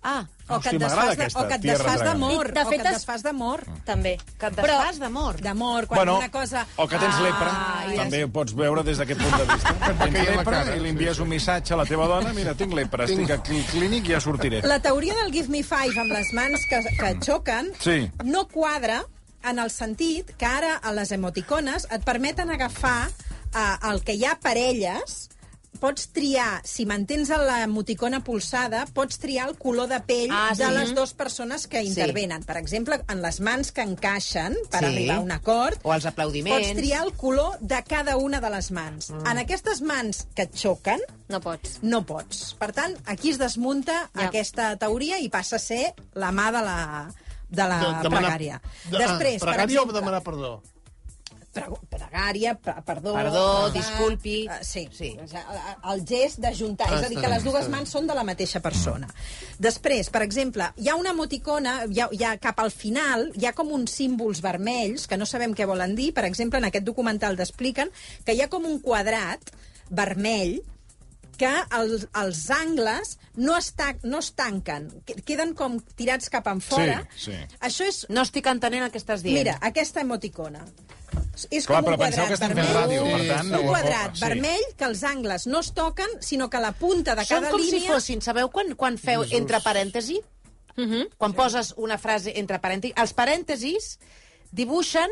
Speaker 6: Ah,
Speaker 4: O que
Speaker 2: Hosti,
Speaker 4: et
Speaker 2: m'agrada
Speaker 4: desfàs de-
Speaker 2: aquesta,
Speaker 4: o que et
Speaker 2: tierra
Speaker 4: desfàs
Speaker 2: dragon.
Speaker 4: d'amor.
Speaker 7: I, de
Speaker 4: o
Speaker 7: fet,
Speaker 4: que et
Speaker 7: es-
Speaker 4: desfàs d'amor.
Speaker 2: Ah.
Speaker 7: també.
Speaker 6: que et
Speaker 7: Però-
Speaker 6: desfàs d'amor.
Speaker 4: D'amor, quan
Speaker 2: bueno,
Speaker 4: una cosa... Ah,
Speaker 2: o que
Speaker 5: Ah.
Speaker 2: tens lepra,
Speaker 4: i
Speaker 2: també ho pots veure des d'aquest punt de vista.
Speaker 11: caia
Speaker 2: Tens
Speaker 11: la
Speaker 2: lepra
Speaker 11: cara,
Speaker 2: i li
Speaker 11: sí,
Speaker 2: envies un missatge a la teva dona, mira, tinc lepra, estic aquí al clínic i ja sortiré.
Speaker 4: La teoria del give me five amb les mans que, que xoquen
Speaker 2: Sí.
Speaker 4: no quadra en el sentit que ara a les emoticones et permeten agafar eh, el que hi ha parelles pots triar, si mantens l'emoticona pulsada, pots triar el color de pell
Speaker 6: Ah,
Speaker 4: de
Speaker 6: sí.
Speaker 4: les dues persones que intervenen. Per exemple, en les mans que encaixen per
Speaker 6: Sí.
Speaker 4: arribar a un acord,
Speaker 6: O els aplaudiments.
Speaker 4: pots triar el color de cada una de les mans.
Speaker 6: Mm.
Speaker 4: En aquestes mans que et xoquen,
Speaker 7: no pots.
Speaker 4: no pots. Per tant, aquí es desmunta
Speaker 7: Ja.
Speaker 4: ja. aquesta teoria i passa a ser la mà de la, de la
Speaker 3: Doncs De- demanar-
Speaker 4: Ah, pregària.
Speaker 3: de- ah,
Speaker 4: Després, per
Speaker 3: pregària o
Speaker 4: exemple,
Speaker 3: demanar perdó?
Speaker 4: pre- pregària, pre perdó...
Speaker 6: Perdó,
Speaker 4: perdó,
Speaker 6: disculpi.
Speaker 4: eh, sí,
Speaker 6: Sí.
Speaker 4: sí. El gest d'ajuntar,
Speaker 3: Ah,
Speaker 4: és a dir,
Speaker 3: està
Speaker 4: que
Speaker 3: bé,
Speaker 4: les dues mans són de la mateixa persona. Després, per exemple, hi ha una emoticona, hi ha, hi ha cap al final, hi ha com uns símbols vermells que no sabem què volen dir. Per exemple, en aquest documental t'expliquen que hi ha com un quadrat vermell que els, els angles no es, ta no es tanquen, que- queden com tirats cap enfora.
Speaker 2: Sí, sí.
Speaker 4: Això és
Speaker 6: No estic entenent el que estàs dient.
Speaker 4: Mira, aquesta emoticona. És
Speaker 2: Clar,
Speaker 4: com
Speaker 2: però
Speaker 4: un
Speaker 2: penseu que
Speaker 4: quadrat
Speaker 2: estem fent
Speaker 4: vermell,
Speaker 2: ràdio, per tant,
Speaker 4: un
Speaker 2: no-
Speaker 4: quadrat
Speaker 2: sí.
Speaker 4: vermell que els angles no es toquen, sinó que la punta de
Speaker 6: Són
Speaker 4: cada
Speaker 6: com
Speaker 4: línia...
Speaker 6: si fossin, sabeu quan, quan feu entre parèntesi?
Speaker 4: Mhm.
Speaker 6: Quan poses una frase entre parèntesis, els parèntesis dibuixen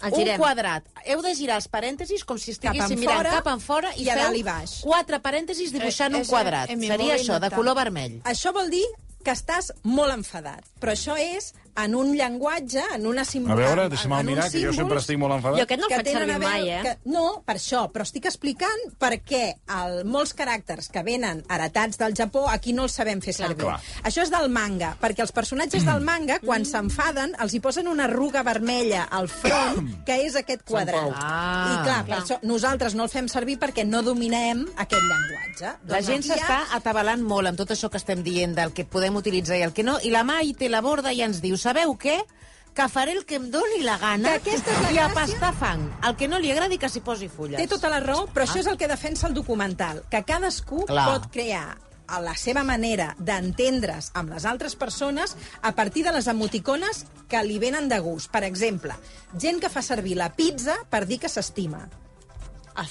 Speaker 7: El
Speaker 6: un
Speaker 7: girem.
Speaker 6: quadrat. Heu de girar els parèntesis com si estiguéssim mirant
Speaker 4: enfora
Speaker 6: cap enfora i,
Speaker 4: i a
Speaker 6: feu
Speaker 4: dalt i baix.
Speaker 6: quatre parèntesis dibuixant
Speaker 5: Eh,
Speaker 6: un
Speaker 5: és-
Speaker 6: quadrat.
Speaker 5: en mi
Speaker 6: Seria
Speaker 5: mòbil
Speaker 6: això,
Speaker 5: no
Speaker 6: de
Speaker 5: tant.
Speaker 6: color vermell.
Speaker 4: Això vol dir que estàs molt enfadat. Però això és en un llenguatge, en una
Speaker 2: A
Speaker 4: simbologia...
Speaker 2: veure, deixa'm mirar, que jo sempre estic molt
Speaker 7: Jo
Speaker 2: enfadat.
Speaker 7: aquest no el faig servir mai, eh?
Speaker 4: Que, no, per això, però estic explicant per què el, molts caràcters que venen heretats del Japó aquí no els sabem fer servir.
Speaker 2: Clar.
Speaker 4: Això és del manga, perquè els personatges del manga,
Speaker 7: Mm.
Speaker 4: quan s'enfaden, els hi posen una arruga vermella al front, que és aquest quadrat.
Speaker 6: Ah.
Speaker 4: I clar, per això nosaltres no el fem servir perquè no dominem aquest llenguatge. Doncs
Speaker 6: La gent
Speaker 4: aquí hi ha-
Speaker 6: s'està atabalant molt amb tot això que estem dient, del que podem utilitzar i el que no, i la Mai té la borda i ens diu, sabeu què? Que faré el que em doni la gana
Speaker 4: Que aquesta és la
Speaker 6: i a
Speaker 4: gràcia.
Speaker 6: pastar fang. El que no li agradi que s'hi posi fulles.
Speaker 4: Té tota la raó, però això és el que defensa el documental, que cadascú
Speaker 6: Ah. Clar.
Speaker 4: pot crear a la seva manera d'entendre's amb les altres persones a partir de les emoticones que li venen de gust. Per exemple, gent que fa servir la pizza per dir que s'estima.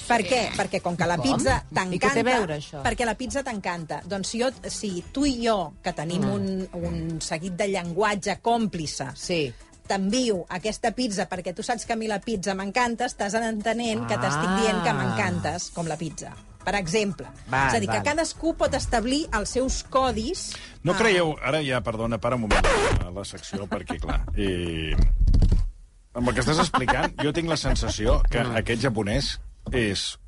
Speaker 4: Per què? Perquè com que la
Speaker 6: Ah, Com?
Speaker 4: pizza
Speaker 6: I què té
Speaker 4: t'encanta...
Speaker 6: a veure, això?
Speaker 4: Perquè la pizza t'encanta. Doncs si, jo, si tu i jo, que tenim un, un seguit de llenguatge còmplice,
Speaker 6: Mm. Sí.
Speaker 4: t'envio aquesta pizza perquè tu saps que a mi la pizza m'encanta, estàs entenent que t'estic
Speaker 6: Ah.
Speaker 4: dient que m'encantes, com la pizza. Per exemple.
Speaker 6: Val,
Speaker 4: És a dir,
Speaker 6: val.
Speaker 4: que cadascú pot establir els seus codis...
Speaker 2: No
Speaker 4: Ah,
Speaker 2: creieu... Ara ja, perdona, para un moment a la secció, perquè, clar... I... Amb el que estàs explicant, jo tinc la sensació que aquest japonès és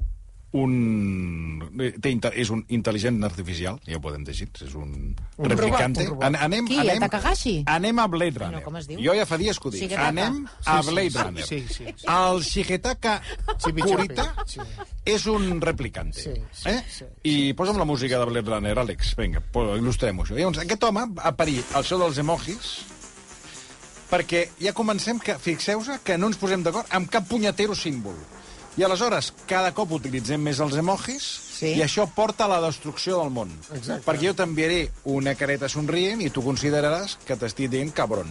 Speaker 2: un... Té, inte- és un intel·ligent artificial, ja ho podem dir així, és un, replicante.
Speaker 3: robot, un robot.
Speaker 2: An- anem,
Speaker 6: Qui, el
Speaker 2: anem,
Speaker 6: Takahashi?
Speaker 2: Anem a Blade
Speaker 6: no,
Speaker 2: Runner.
Speaker 6: com es diu?
Speaker 2: Jo ja fa dies que ho dic.
Speaker 6: Shigetaka.
Speaker 2: anem a
Speaker 3: Sí, sí,
Speaker 2: Blade
Speaker 3: sí,
Speaker 2: Runner.
Speaker 3: sí, sí, sí.
Speaker 2: El Shigetaka
Speaker 3: Chibi-chabi,
Speaker 2: Kurita
Speaker 3: sí.
Speaker 2: és un replicante.
Speaker 3: Sí, sí,
Speaker 2: eh?
Speaker 3: sí.
Speaker 2: I posa'm la música de Blade Runner, Àlex. Vinga, po- il·lustrem-ho. això. Llavors, aquest home va parir el show dels emojis perquè ja comencem que, fixeu-vos que no ens posem d'acord amb cap punyetero símbol. I aleshores, cada cop utilitzem més els emojis
Speaker 6: Sí.
Speaker 2: i això porta a la destrucció del món. Exacte. Perquè jo t'enviaré una careta somrient i tu consideraràs que t'estic dient cabron.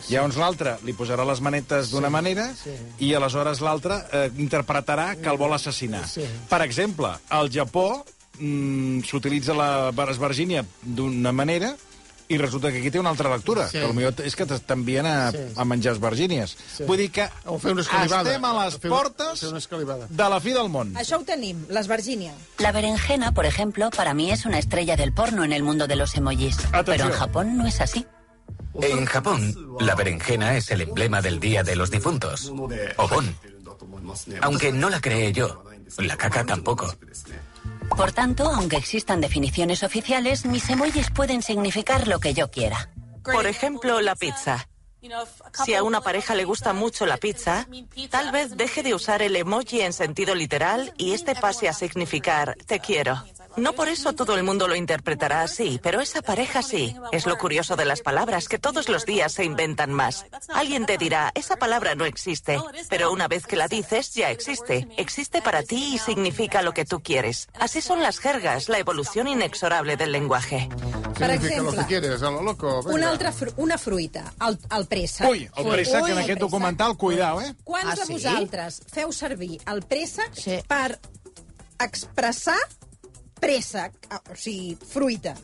Speaker 2: Sí. Llavors l'altre li posarà les manetes d'una sí. manera sí. i aleshores l'altre eh, interpretarà que el vol assassinar.
Speaker 3: Sí.
Speaker 2: Per exemple, al Japó mm, s'utilitza la esvergínia d'una manera i resulta que aquí té una altra lectura, sí.
Speaker 3: Sí.
Speaker 2: que potser és que t- t'envien a,
Speaker 3: Sí.
Speaker 2: a menjar esvergínies.
Speaker 3: Sí.
Speaker 2: Sí. Vull dir que
Speaker 3: O fer una escalivada.
Speaker 2: estem a les
Speaker 3: O fer un-
Speaker 2: portes
Speaker 3: fer una escalivada.
Speaker 2: de la fi del món.
Speaker 4: Això ho tenim, les Virgínia.
Speaker 10: La berenjena, por ejemplo, para mí es una estrella del porno en el mundo de los emojis. Pero en Japón no es así.
Speaker 9: En Japón, la berenjena es el emblema del Día de los Difuntos, Obon. Aunque no la creé yo, la caca tampoco.
Speaker 10: Por tanto, aunque existan definiciones oficiales, mis emojis pueden significar lo que yo quiera.
Speaker 12: Por ejemplo, la pizza. Si a una pareja le gusta mucho la pizza, tal vez deje de usar el emoji en sentido literal y este pase a significar te quiero. No por eso todo el mundo lo interpretará así, pero esa pareja sí. Es lo curioso de las palabras, que todos los días se inventan más. Alguien te dirá, esa palabra no existe, pero una vez que la dices, ya existe. Existe para ti y significa lo que tú quieres. Así son las jergas, la evolución inexorable del lenguaje.
Speaker 4: Per
Speaker 11: Significa lo
Speaker 4: exemple,
Speaker 11: que quieres, a lo loco. venga.
Speaker 4: Una, altra fru una fruita, el, el préssec.
Speaker 2: Ui, el préssec
Speaker 4: Ui,
Speaker 2: en
Speaker 4: el
Speaker 2: aquest
Speaker 4: préssec.
Speaker 2: documental, cuidao, eh?
Speaker 4: Quants
Speaker 6: Ah,
Speaker 4: de
Speaker 6: sí?
Speaker 4: vosaltres feu servir el préssec per expressar préssec, ah, o sigui, fruita?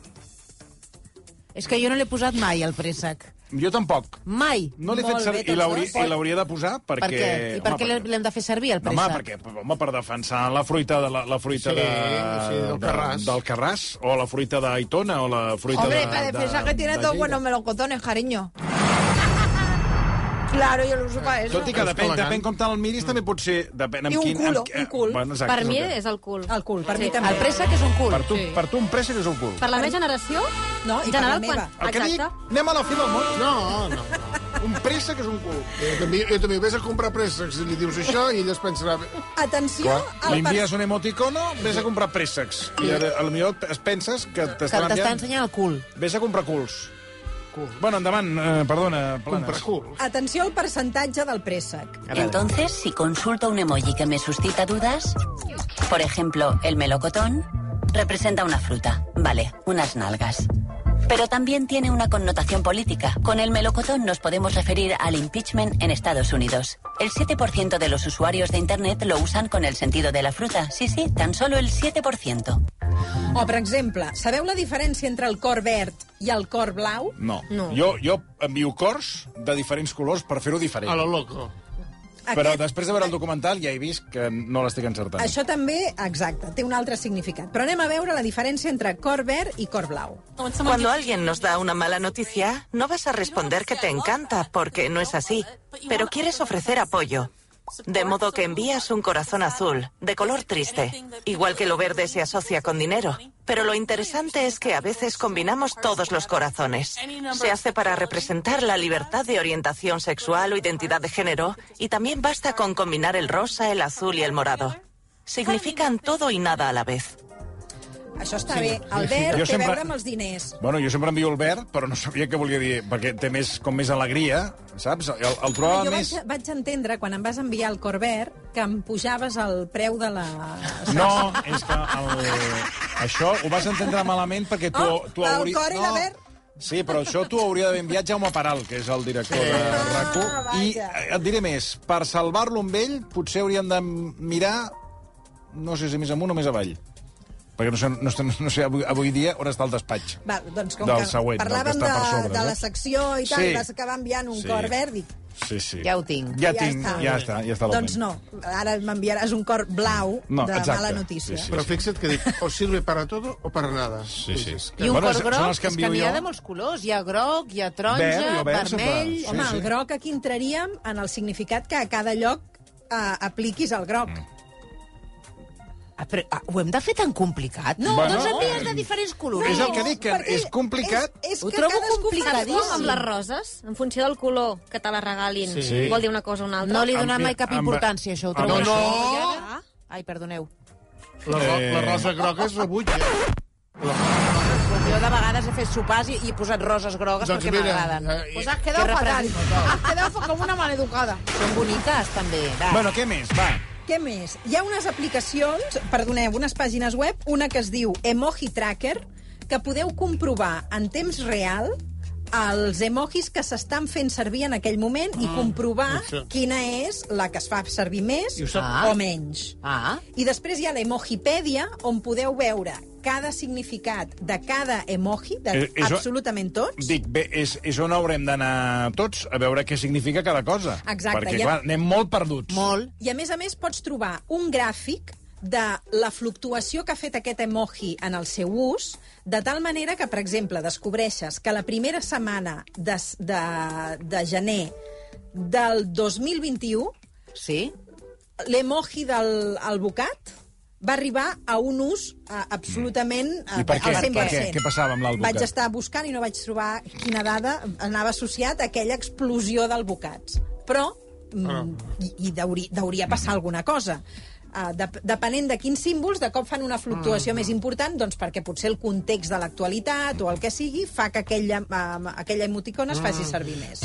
Speaker 6: És que jo no l'he posat mai, al préssec.
Speaker 2: Jo tampoc.
Speaker 6: Mai.
Speaker 2: No l'he fet
Speaker 4: Molt bé,
Speaker 6: doncs
Speaker 2: servir, i
Speaker 4: tots
Speaker 2: l'hauria-
Speaker 4: dos.
Speaker 2: i l'hauria de posar perquè...
Speaker 6: Per què? I per
Speaker 2: home,
Speaker 6: què l'hem de fer servir, el
Speaker 2: No, home,
Speaker 6: préssec?
Speaker 2: perquè, home, per defensar la fruita de la, la fruita
Speaker 11: Sí,
Speaker 2: de,
Speaker 11: sí, del
Speaker 2: de-
Speaker 11: Carràs.
Speaker 2: del Carràs, o la fruita d'Aitona, o la fruita
Speaker 5: Hombre,
Speaker 2: de,
Speaker 5: para
Speaker 2: de-
Speaker 5: defensa que tiene
Speaker 2: de
Speaker 5: dos
Speaker 2: Lleida.
Speaker 5: buenos melocotones, cariño. Claro, yo lo uso para eso.
Speaker 2: Tot i que depèn,
Speaker 11: elegant.
Speaker 2: depèn com te'l miris, també pot ser... Depèn amb
Speaker 5: I un
Speaker 2: quin,
Speaker 5: culo,
Speaker 2: amb, qui-
Speaker 5: un cul.
Speaker 2: Bueno, exacte,
Speaker 7: Per mi
Speaker 2: el que-
Speaker 7: és el cul.
Speaker 4: El cul, per
Speaker 7: Sí.
Speaker 4: mi també.
Speaker 6: El préssec és un cul.
Speaker 2: Per tu, per tu un préssec és un cul.
Speaker 7: Per la meva generació,
Speaker 4: No, i per
Speaker 7: general,
Speaker 4: la meva.
Speaker 7: quan...
Speaker 2: El que dic,
Speaker 7: Exacte.
Speaker 2: anem a la fi del món.
Speaker 11: No, no.
Speaker 2: Un préssec és un cul.
Speaker 11: Eh, Jo també, jo també vés a comprar préssecs i li dius això i ell es pensarà...
Speaker 4: Atenció
Speaker 2: Li
Speaker 4: al per...
Speaker 2: envies un emoticono, vés a comprar préssecs. I ara, a lo millor es penses que
Speaker 6: Que
Speaker 2: t'estan
Speaker 6: t'està
Speaker 2: enviant...
Speaker 6: ensenyant el cul.
Speaker 2: Vés a comprar culs. Bueno, endavant, eh, perdona,
Speaker 11: Comprar
Speaker 2: Planes.
Speaker 11: cul.
Speaker 4: Atenció al percentatge del préssec.
Speaker 10: Entonces, si consulto un emoji que me suscita dudas, por ejemplo, el melocotón, representa una fruta, vale, unas nalgas. Pero también tiene una connotación política. Con el melocotón nos podemos referir al impeachment en Estados Unidos. El 7% de los usuarios de Internet lo usan con el sentido de la fruta. Sí, sí, tan solo el 7%.
Speaker 4: O, per exemple, sabeu la diferència entre el cor verd i el cor blau?
Speaker 2: No. Jo, jo envio cors de diferents colors per fer-ho diferent.
Speaker 3: A lo loco.
Speaker 2: Però després de veure el documental ja he vist que no l'estic encertant.
Speaker 4: Això també, exacte, té un altre significat. Però anem a veure la diferència entre cor verd i cor blau.
Speaker 12: Cuando alguien nos da una mala noticia, no vas a responder que te encanta, porque no es así, pero quieres ofrecer apoyo. De modo que envías un corazón azul, de color triste, igual que lo verde se asocia con dinero. Pero lo interesante es que a veces combinamos todos los corazones. Se hace para representar la libertad de orientación sexual o identidad de género, y también basta con combinar el rosa, el azul y el morado. Significan todo y nada a la vez.
Speaker 4: Això està sí. bé. El verd
Speaker 2: Jo
Speaker 4: té sempre...
Speaker 2: sempre-
Speaker 4: a veure amb els diners.
Speaker 2: Bueno, jo sempre envio el verd, però no sabia què volia dir, perquè té més, com més alegria, saps? El, el trobava
Speaker 4: jo
Speaker 2: més...
Speaker 4: vaig, vaig entendre, quan em vas enviar el cor verd, que em pujaves el preu de la...
Speaker 2: No, és que el... això ho vas entendre malament perquè tu...
Speaker 4: Oh,
Speaker 2: tu
Speaker 4: el cor i la verd.
Speaker 2: Sí, però això t'ho hauria d'haver enviat Jaume Paral, que és el director de RAC1.
Speaker 4: Ah,
Speaker 2: I eh, et diré més, per salvar-lo amb ell potser hauríem de mirar, no sé si més amunt o més avall. Perquè no sé, no, sé- no sé avui, avui dia on està el despatx.
Speaker 4: Va, doncs com
Speaker 2: Del
Speaker 4: que
Speaker 2: següent, del
Speaker 4: parlàvem
Speaker 2: que està
Speaker 4: de,
Speaker 2: per sobre,
Speaker 4: de
Speaker 2: no?
Speaker 4: la secció i tal,
Speaker 2: Sí.
Speaker 4: sí. vas acabar enviant un
Speaker 2: Sí.
Speaker 4: sí. cor verd i
Speaker 2: Sí, sí.
Speaker 6: Ja ho tinc.
Speaker 2: Ja, tinc, ja està, ja està.
Speaker 4: Doncs
Speaker 2: l'augment.
Speaker 4: no, ara m'enviaràs un cor blau
Speaker 2: No,
Speaker 4: de
Speaker 2: exacte.
Speaker 4: mala notícia.
Speaker 2: Sí,
Speaker 11: Però fixa't que dic, o sirve para todo o para nada.
Speaker 2: Sí, sí.
Speaker 6: I un
Speaker 2: Bueno,
Speaker 6: cor
Speaker 2: són
Speaker 6: groc,
Speaker 2: els que
Speaker 6: és que
Speaker 2: envio
Speaker 6: n'hi ha
Speaker 2: jo.
Speaker 6: de molts colors. Hi ha groc, hi ha taronja,
Speaker 2: Verd, jo verd sempre.
Speaker 6: vermell...
Speaker 2: Sí,
Speaker 4: Home,
Speaker 2: sí.
Speaker 4: el groc aquí entraríem en el significat que a cada lloc eh, apliquis el groc. Mm.
Speaker 6: Ah, però ah, ho hem de fer tan complicat? No,
Speaker 2: Bueno,
Speaker 6: bueno, doncs envies de diferents colors.
Speaker 2: És el que dic, que
Speaker 4: perquè
Speaker 2: és complicat.
Speaker 4: És, és
Speaker 6: Ho
Speaker 4: que
Speaker 6: trobo
Speaker 7: Saps
Speaker 4: cadascú fa com-
Speaker 7: com amb
Speaker 6: complicadíssim.
Speaker 7: les roses? En funció del color que te la regalin,
Speaker 2: Sí.
Speaker 7: vol dir una cosa o una altra.
Speaker 6: No li
Speaker 2: Amb-
Speaker 6: donem mai cap
Speaker 2: amb-
Speaker 6: importància, això. Ho
Speaker 2: amb-
Speaker 6: trobo
Speaker 2: No,
Speaker 6: això. Ai, perdoneu.
Speaker 11: La, ro
Speaker 2: Eh.
Speaker 11: la rosa groga és rebuig, eh?
Speaker 6: Doncs Jo de vegades he fet sopars i, i he posat roses grogues
Speaker 11: Doncs
Speaker 6: perquè
Speaker 11: mira,
Speaker 6: m'agraden.
Speaker 11: eh,
Speaker 5: Pues has quedado
Speaker 6: Qué
Speaker 5: fatal.
Speaker 6: representado.
Speaker 5: Has quedado como una maleducada.
Speaker 6: Són boniques, també. Va.
Speaker 2: Bueno, què més? Va.
Speaker 4: Què més? Hi ha unes aplicacions, perdoneu, unes pàgines web, una que es diu Emoji Tracker, que podeu comprovar en temps real els emojis que s'estan fent servir en aquell moment i comprovar
Speaker 11: això.
Speaker 4: quina és la que es fa servir més
Speaker 3: I ho sap-
Speaker 4: o menys.
Speaker 6: Ah,
Speaker 4: I després hi ha l'Emojipèdia, on podeu veure cada significat de cada emoji, de
Speaker 2: Eh, és-
Speaker 4: absolutament tots.
Speaker 2: Dic, bé, és, és on haurem d'anar tots a veure què significa cada cosa.
Speaker 4: Exacte,
Speaker 2: Perquè,
Speaker 4: ja-
Speaker 2: clar, anem molt perduts.
Speaker 6: molt.
Speaker 4: I, a més a més, pots trobar un gràfic de la fluctuació que ha fet aquest emoji en el seu ús, de tal manera que, per exemple, descobreixes que la primera setmana de, de, de gener del 2021
Speaker 6: sí?
Speaker 4: l'emoji del el bocat va arribar a un ús uh, absolutament uh,
Speaker 2: Mm. I per què?
Speaker 4: al 100%.
Speaker 2: Per què? Què passava amb l'alt
Speaker 4: Vaig
Speaker 2: bocat?
Speaker 4: estar buscant i no vaig trobar quina dada anava associat a aquella explosió del bocats. Però mm, i, i deuri, deuria passar alguna cosa. Uh, de, depenent de quins símbols, de cop fan una fluctuació més important, doncs perquè potser el context de l'actualitat o el que sigui fa que aquella, uh, aquella emoticona es faci servir més.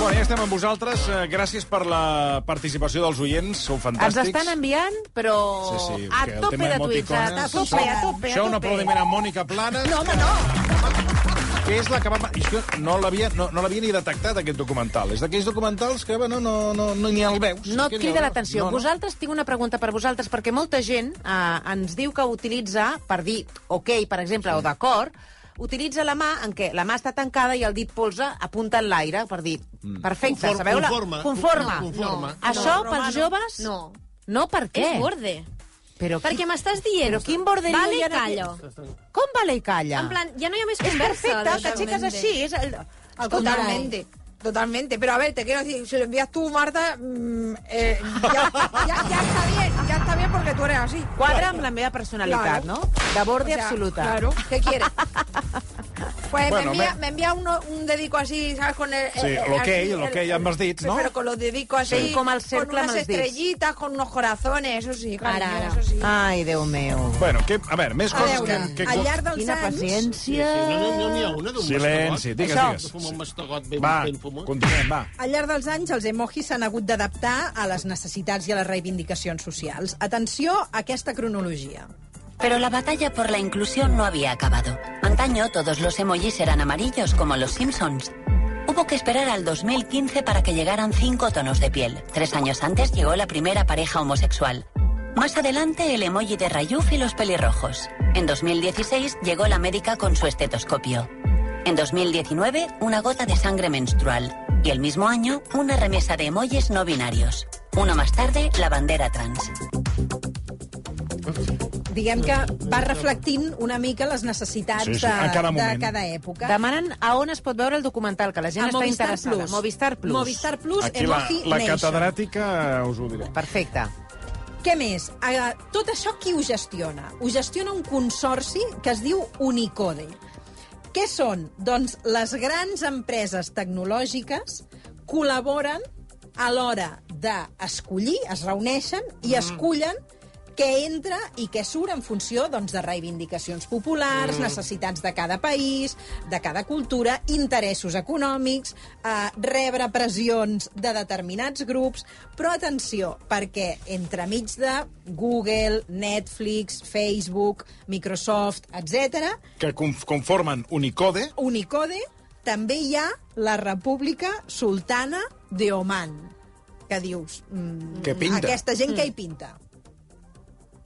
Speaker 2: Bueno, ja estem amb vosaltres. Eh, Gràcies per la participació dels oients. Sou
Speaker 6: Ens
Speaker 2: fantàstics.
Speaker 6: estan enviant, però
Speaker 2: Sí, sí,
Speaker 6: a
Speaker 2: que el tema
Speaker 6: tope de tuits, a,
Speaker 2: emoticones-
Speaker 6: a tope, a tope, a
Speaker 2: Això un
Speaker 6: tope.
Speaker 2: aplaudiment a Mònica Planes. No, home, no! Que és la que va... És que no l'havia no, no l'havia ni detectat, aquest documental. És d'aquells documentals que, bueno, no, no, no ni el veus.
Speaker 6: No
Speaker 2: Que
Speaker 6: et
Speaker 2: ni
Speaker 6: crida
Speaker 2: el-
Speaker 6: l'atenció.
Speaker 2: No, no.
Speaker 6: Vosaltres, tinc una pregunta per vosaltres, perquè molta gent eh, ens diu que utilitza, per dir ok, per exemple, o d'acord, utilitza la mà en què la mà està tancada i el dit polze apunta en l'aire, per dir, perfecte,
Speaker 3: Conform-
Speaker 6: sabeu? la-
Speaker 3: conforma.
Speaker 6: Conforma.
Speaker 3: No, conforma.
Speaker 6: No. Això
Speaker 7: No,
Speaker 6: pels
Speaker 7: Romano,
Speaker 6: joves...
Speaker 7: no.
Speaker 6: No, per què?
Speaker 7: És borde.
Speaker 6: Però qui-
Speaker 7: Perquè m'estàs dient...
Speaker 6: Però quin borderio
Speaker 7: Vale
Speaker 6: hi
Speaker 7: i
Speaker 6: ha d'aquí?
Speaker 7: callo.
Speaker 6: Com vale i calla?
Speaker 7: En plan, ja no hi ha més
Speaker 6: és
Speaker 7: conversa.
Speaker 6: perfecte,
Speaker 7: de-
Speaker 6: t'aixeques així. És el...
Speaker 5: Ah, Totalmente. Totalmente, pero a ver, te quiero decir, si lo envías tú, Marta, mm, eh, ya, ya- ya está bien, ya está bien porque tú eres así.
Speaker 6: Quadra amb la meva personalitat,
Speaker 5: Claro.
Speaker 6: no? De borde
Speaker 5: O sea,
Speaker 6: absoluta.
Speaker 5: Claro, ¿qué quieres? Pues
Speaker 2: Bueno,
Speaker 5: me envía,
Speaker 2: me-
Speaker 5: me envía uno- un dedico así, ¿sabes? Con el,
Speaker 2: Sí,
Speaker 5: eh, eh,
Speaker 2: el ok,
Speaker 5: así,
Speaker 2: el ok amb els dits, no?
Speaker 5: Pero con los dedicos así,
Speaker 6: Sí, como al
Speaker 5: con
Speaker 6: cercle amb
Speaker 5: unas
Speaker 6: els dits.
Speaker 5: estrellitas, con unos corazones, eso sí, cariño,
Speaker 7: Ara, ara.
Speaker 5: eso sí.
Speaker 6: Ai, Déu meu.
Speaker 2: Bueno, que, a veure, més
Speaker 4: A
Speaker 2: coses
Speaker 4: veure,
Speaker 2: que...
Speaker 4: al
Speaker 2: que...
Speaker 4: llarg dels
Speaker 6: Quina
Speaker 4: anys...
Speaker 6: paciència.
Speaker 3: No n'hi no, n'hi ha una d'un
Speaker 2: Silenci, digues,
Speaker 3: mastegot.
Speaker 2: digues.
Speaker 3: Fuma un mastegot ben,
Speaker 2: Va,
Speaker 3: ben fumat.
Speaker 2: continuem, va.
Speaker 4: Al llarg dels anys, els emojis s'han hagut d'adaptar a les necessitats i a les reivindicacions socials. Atenció a aquesta cronologia.
Speaker 10: Pero la batalla por la inclusión no había acabado. Antaño todos los emojis eran amarillos como los Simpsons. Hubo que esperar al 2015 para que llegaran cinco tonos de piel. Tres años antes llegó la primera pareja homosexual. Más adelante el emoji de Rayuf y los pelirrojos. En 2016 llegó la médica con su estetoscopio. En 2019 una gota de sangre menstrual. Y el mismo año una remesa de emojis no binarios. Uno más tarde la bandera trans.
Speaker 4: Diguem que va reflectint una mica les necessitats
Speaker 2: Sí, sí,
Speaker 4: de,
Speaker 2: a cada
Speaker 4: de
Speaker 2: moment.
Speaker 4: cada època.
Speaker 6: Demanen a on es pot veure el documental, que la gent
Speaker 4: A
Speaker 6: està
Speaker 4: Movistar
Speaker 6: interessada.
Speaker 4: Plus.
Speaker 6: Movistar Plus.
Speaker 4: Movistar Plus,
Speaker 2: Aquí la,
Speaker 4: Emoji
Speaker 2: la
Speaker 4: Nation.
Speaker 2: catedràtica eh, us ho diré.
Speaker 6: Perfecte.
Speaker 4: Què més? Eh, Tot això qui ho gestiona? Ho gestiona un consorci que es diu Unicode. Què són? Doncs les grans empreses tecnològiques col·laboren a l'hora d'escollir, es reuneixen i escullen què entra i què surt en funció doncs, de reivindicacions populars, necessitats de cada país, de cada cultura, interessos econòmics, eh, rebre pressions de determinats grups... Però atenció, perquè entremig de Google, Netflix, Facebook, Microsoft, etc,
Speaker 2: Que conf- conformen Unicode,
Speaker 4: Unicode, també hi ha la República Sultana de Oman, que dius... Mm,
Speaker 2: Que pinta.
Speaker 4: Aquesta gent que hi pinta.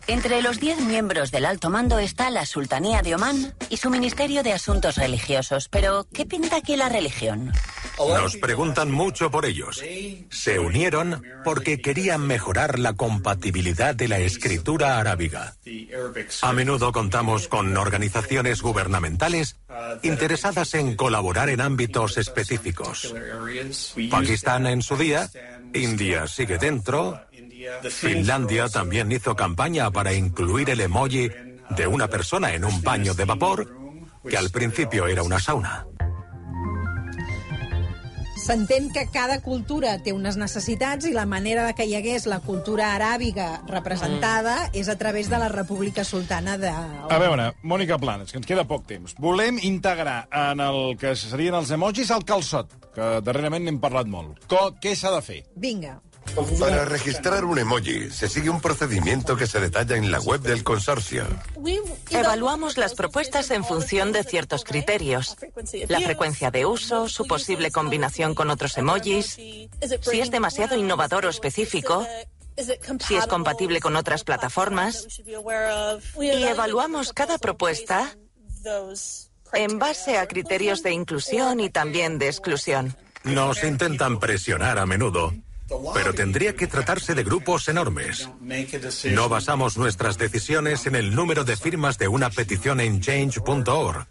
Speaker 10: Entre los 10 miembros del alto mando está la Sultanía de Omán y su Ministerio de Asuntos Religiosos. Pero, ¿qué pinta aquí la religión?
Speaker 9: Nos preguntan mucho por ellos. Se unieron porque querían mejorar la compatibilidad de la escritura arábiga. A menudo contamos con organizaciones gubernamentales interesadas en colaborar en ámbitos específicos. Pakistán en su día, India sigue dentro, Finlandia también hizo campaña para incluir el emoji de una persona en un baño de vapor, que al principio era una sauna.
Speaker 4: S'entén que cada cultura té unes necessitats i la manera de que hi hagués la cultura aràbiga representada és a través de la República Sultana de...
Speaker 2: A veure, Mònica Planes, que ens queda poc temps. Volem integrar en el que serien els emojis el calçot, que darrerament n'hem parlat molt. Co què s'ha de fer?
Speaker 4: Vinga.
Speaker 13: Para registrar un emoji se sigue un procedimiento que se detalla en la web del consorcio.
Speaker 12: Evaluamos las propuestas en función de ciertos criterios. La frecuencia de uso, su posible combinación con otros emojis, si es demasiado innovador o específico, si es compatible con otras plataformas. Y evaluamos cada propuesta en base a criterios de inclusión y también de exclusión.
Speaker 9: Nos intentan presionar a menudo Pero tendría que tratarse de grupos enormes. No basamos nuestras decisiones en el número de firmas de una petición en change.org,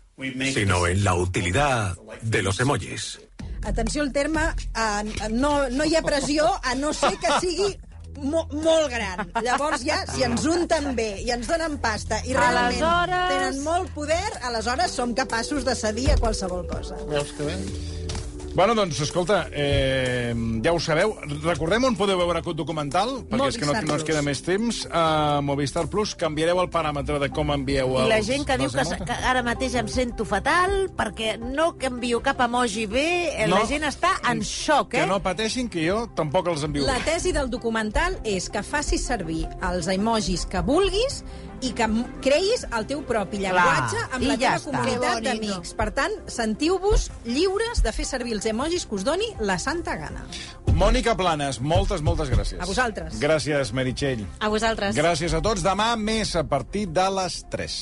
Speaker 9: sino en la utilidad de los emojis.
Speaker 4: Atenció al terme, a, a, no, no hi ha pressió, a no ser que sigui mo, molt gran. Llavors ja, si ens unten bé i ens donen pasta i realment
Speaker 6: Aleshores-
Speaker 4: tenen molt poder, aleshores som capaços de cedir a qualsevol cosa.
Speaker 3: Veus que bé?
Speaker 2: Bueno, doncs, escolta, eh, ja ho sabeu. Recordem on podeu veure aquest documental, perquè és que no,
Speaker 6: Movistar
Speaker 2: no ens
Speaker 6: Plus.
Speaker 2: queda més temps. A Movistar Plus canviareu el paràmetre de com envieu
Speaker 6: I
Speaker 2: els...
Speaker 6: la gent que diu
Speaker 2: les
Speaker 6: que,
Speaker 2: emotes.
Speaker 6: que ara mateix em sento fatal perquè no canvio cap emoji bé, eh,
Speaker 2: No.
Speaker 6: la gent està en xoc, eh?
Speaker 2: Que no pateixin, que jo tampoc els envio.
Speaker 4: La tesi del documental és que facis servir els emojis que vulguis i que m- creïs el teu propi
Speaker 6: Clar,
Speaker 4: llenguatge amb
Speaker 6: i
Speaker 4: la
Speaker 6: ja
Speaker 4: teva
Speaker 6: està.
Speaker 4: comunitat
Speaker 6: Que bonito.
Speaker 4: d'amics. Per tant, sentiu-vos lliures de fer servir els emojis que us doni la santa gana.
Speaker 2: Mònica Planes, moltes, moltes gràcies.
Speaker 4: A vosaltres.
Speaker 2: Gràcies, Meritxell.
Speaker 7: A vosaltres.
Speaker 2: Gràcies a tots. Demà més a partir de les 3.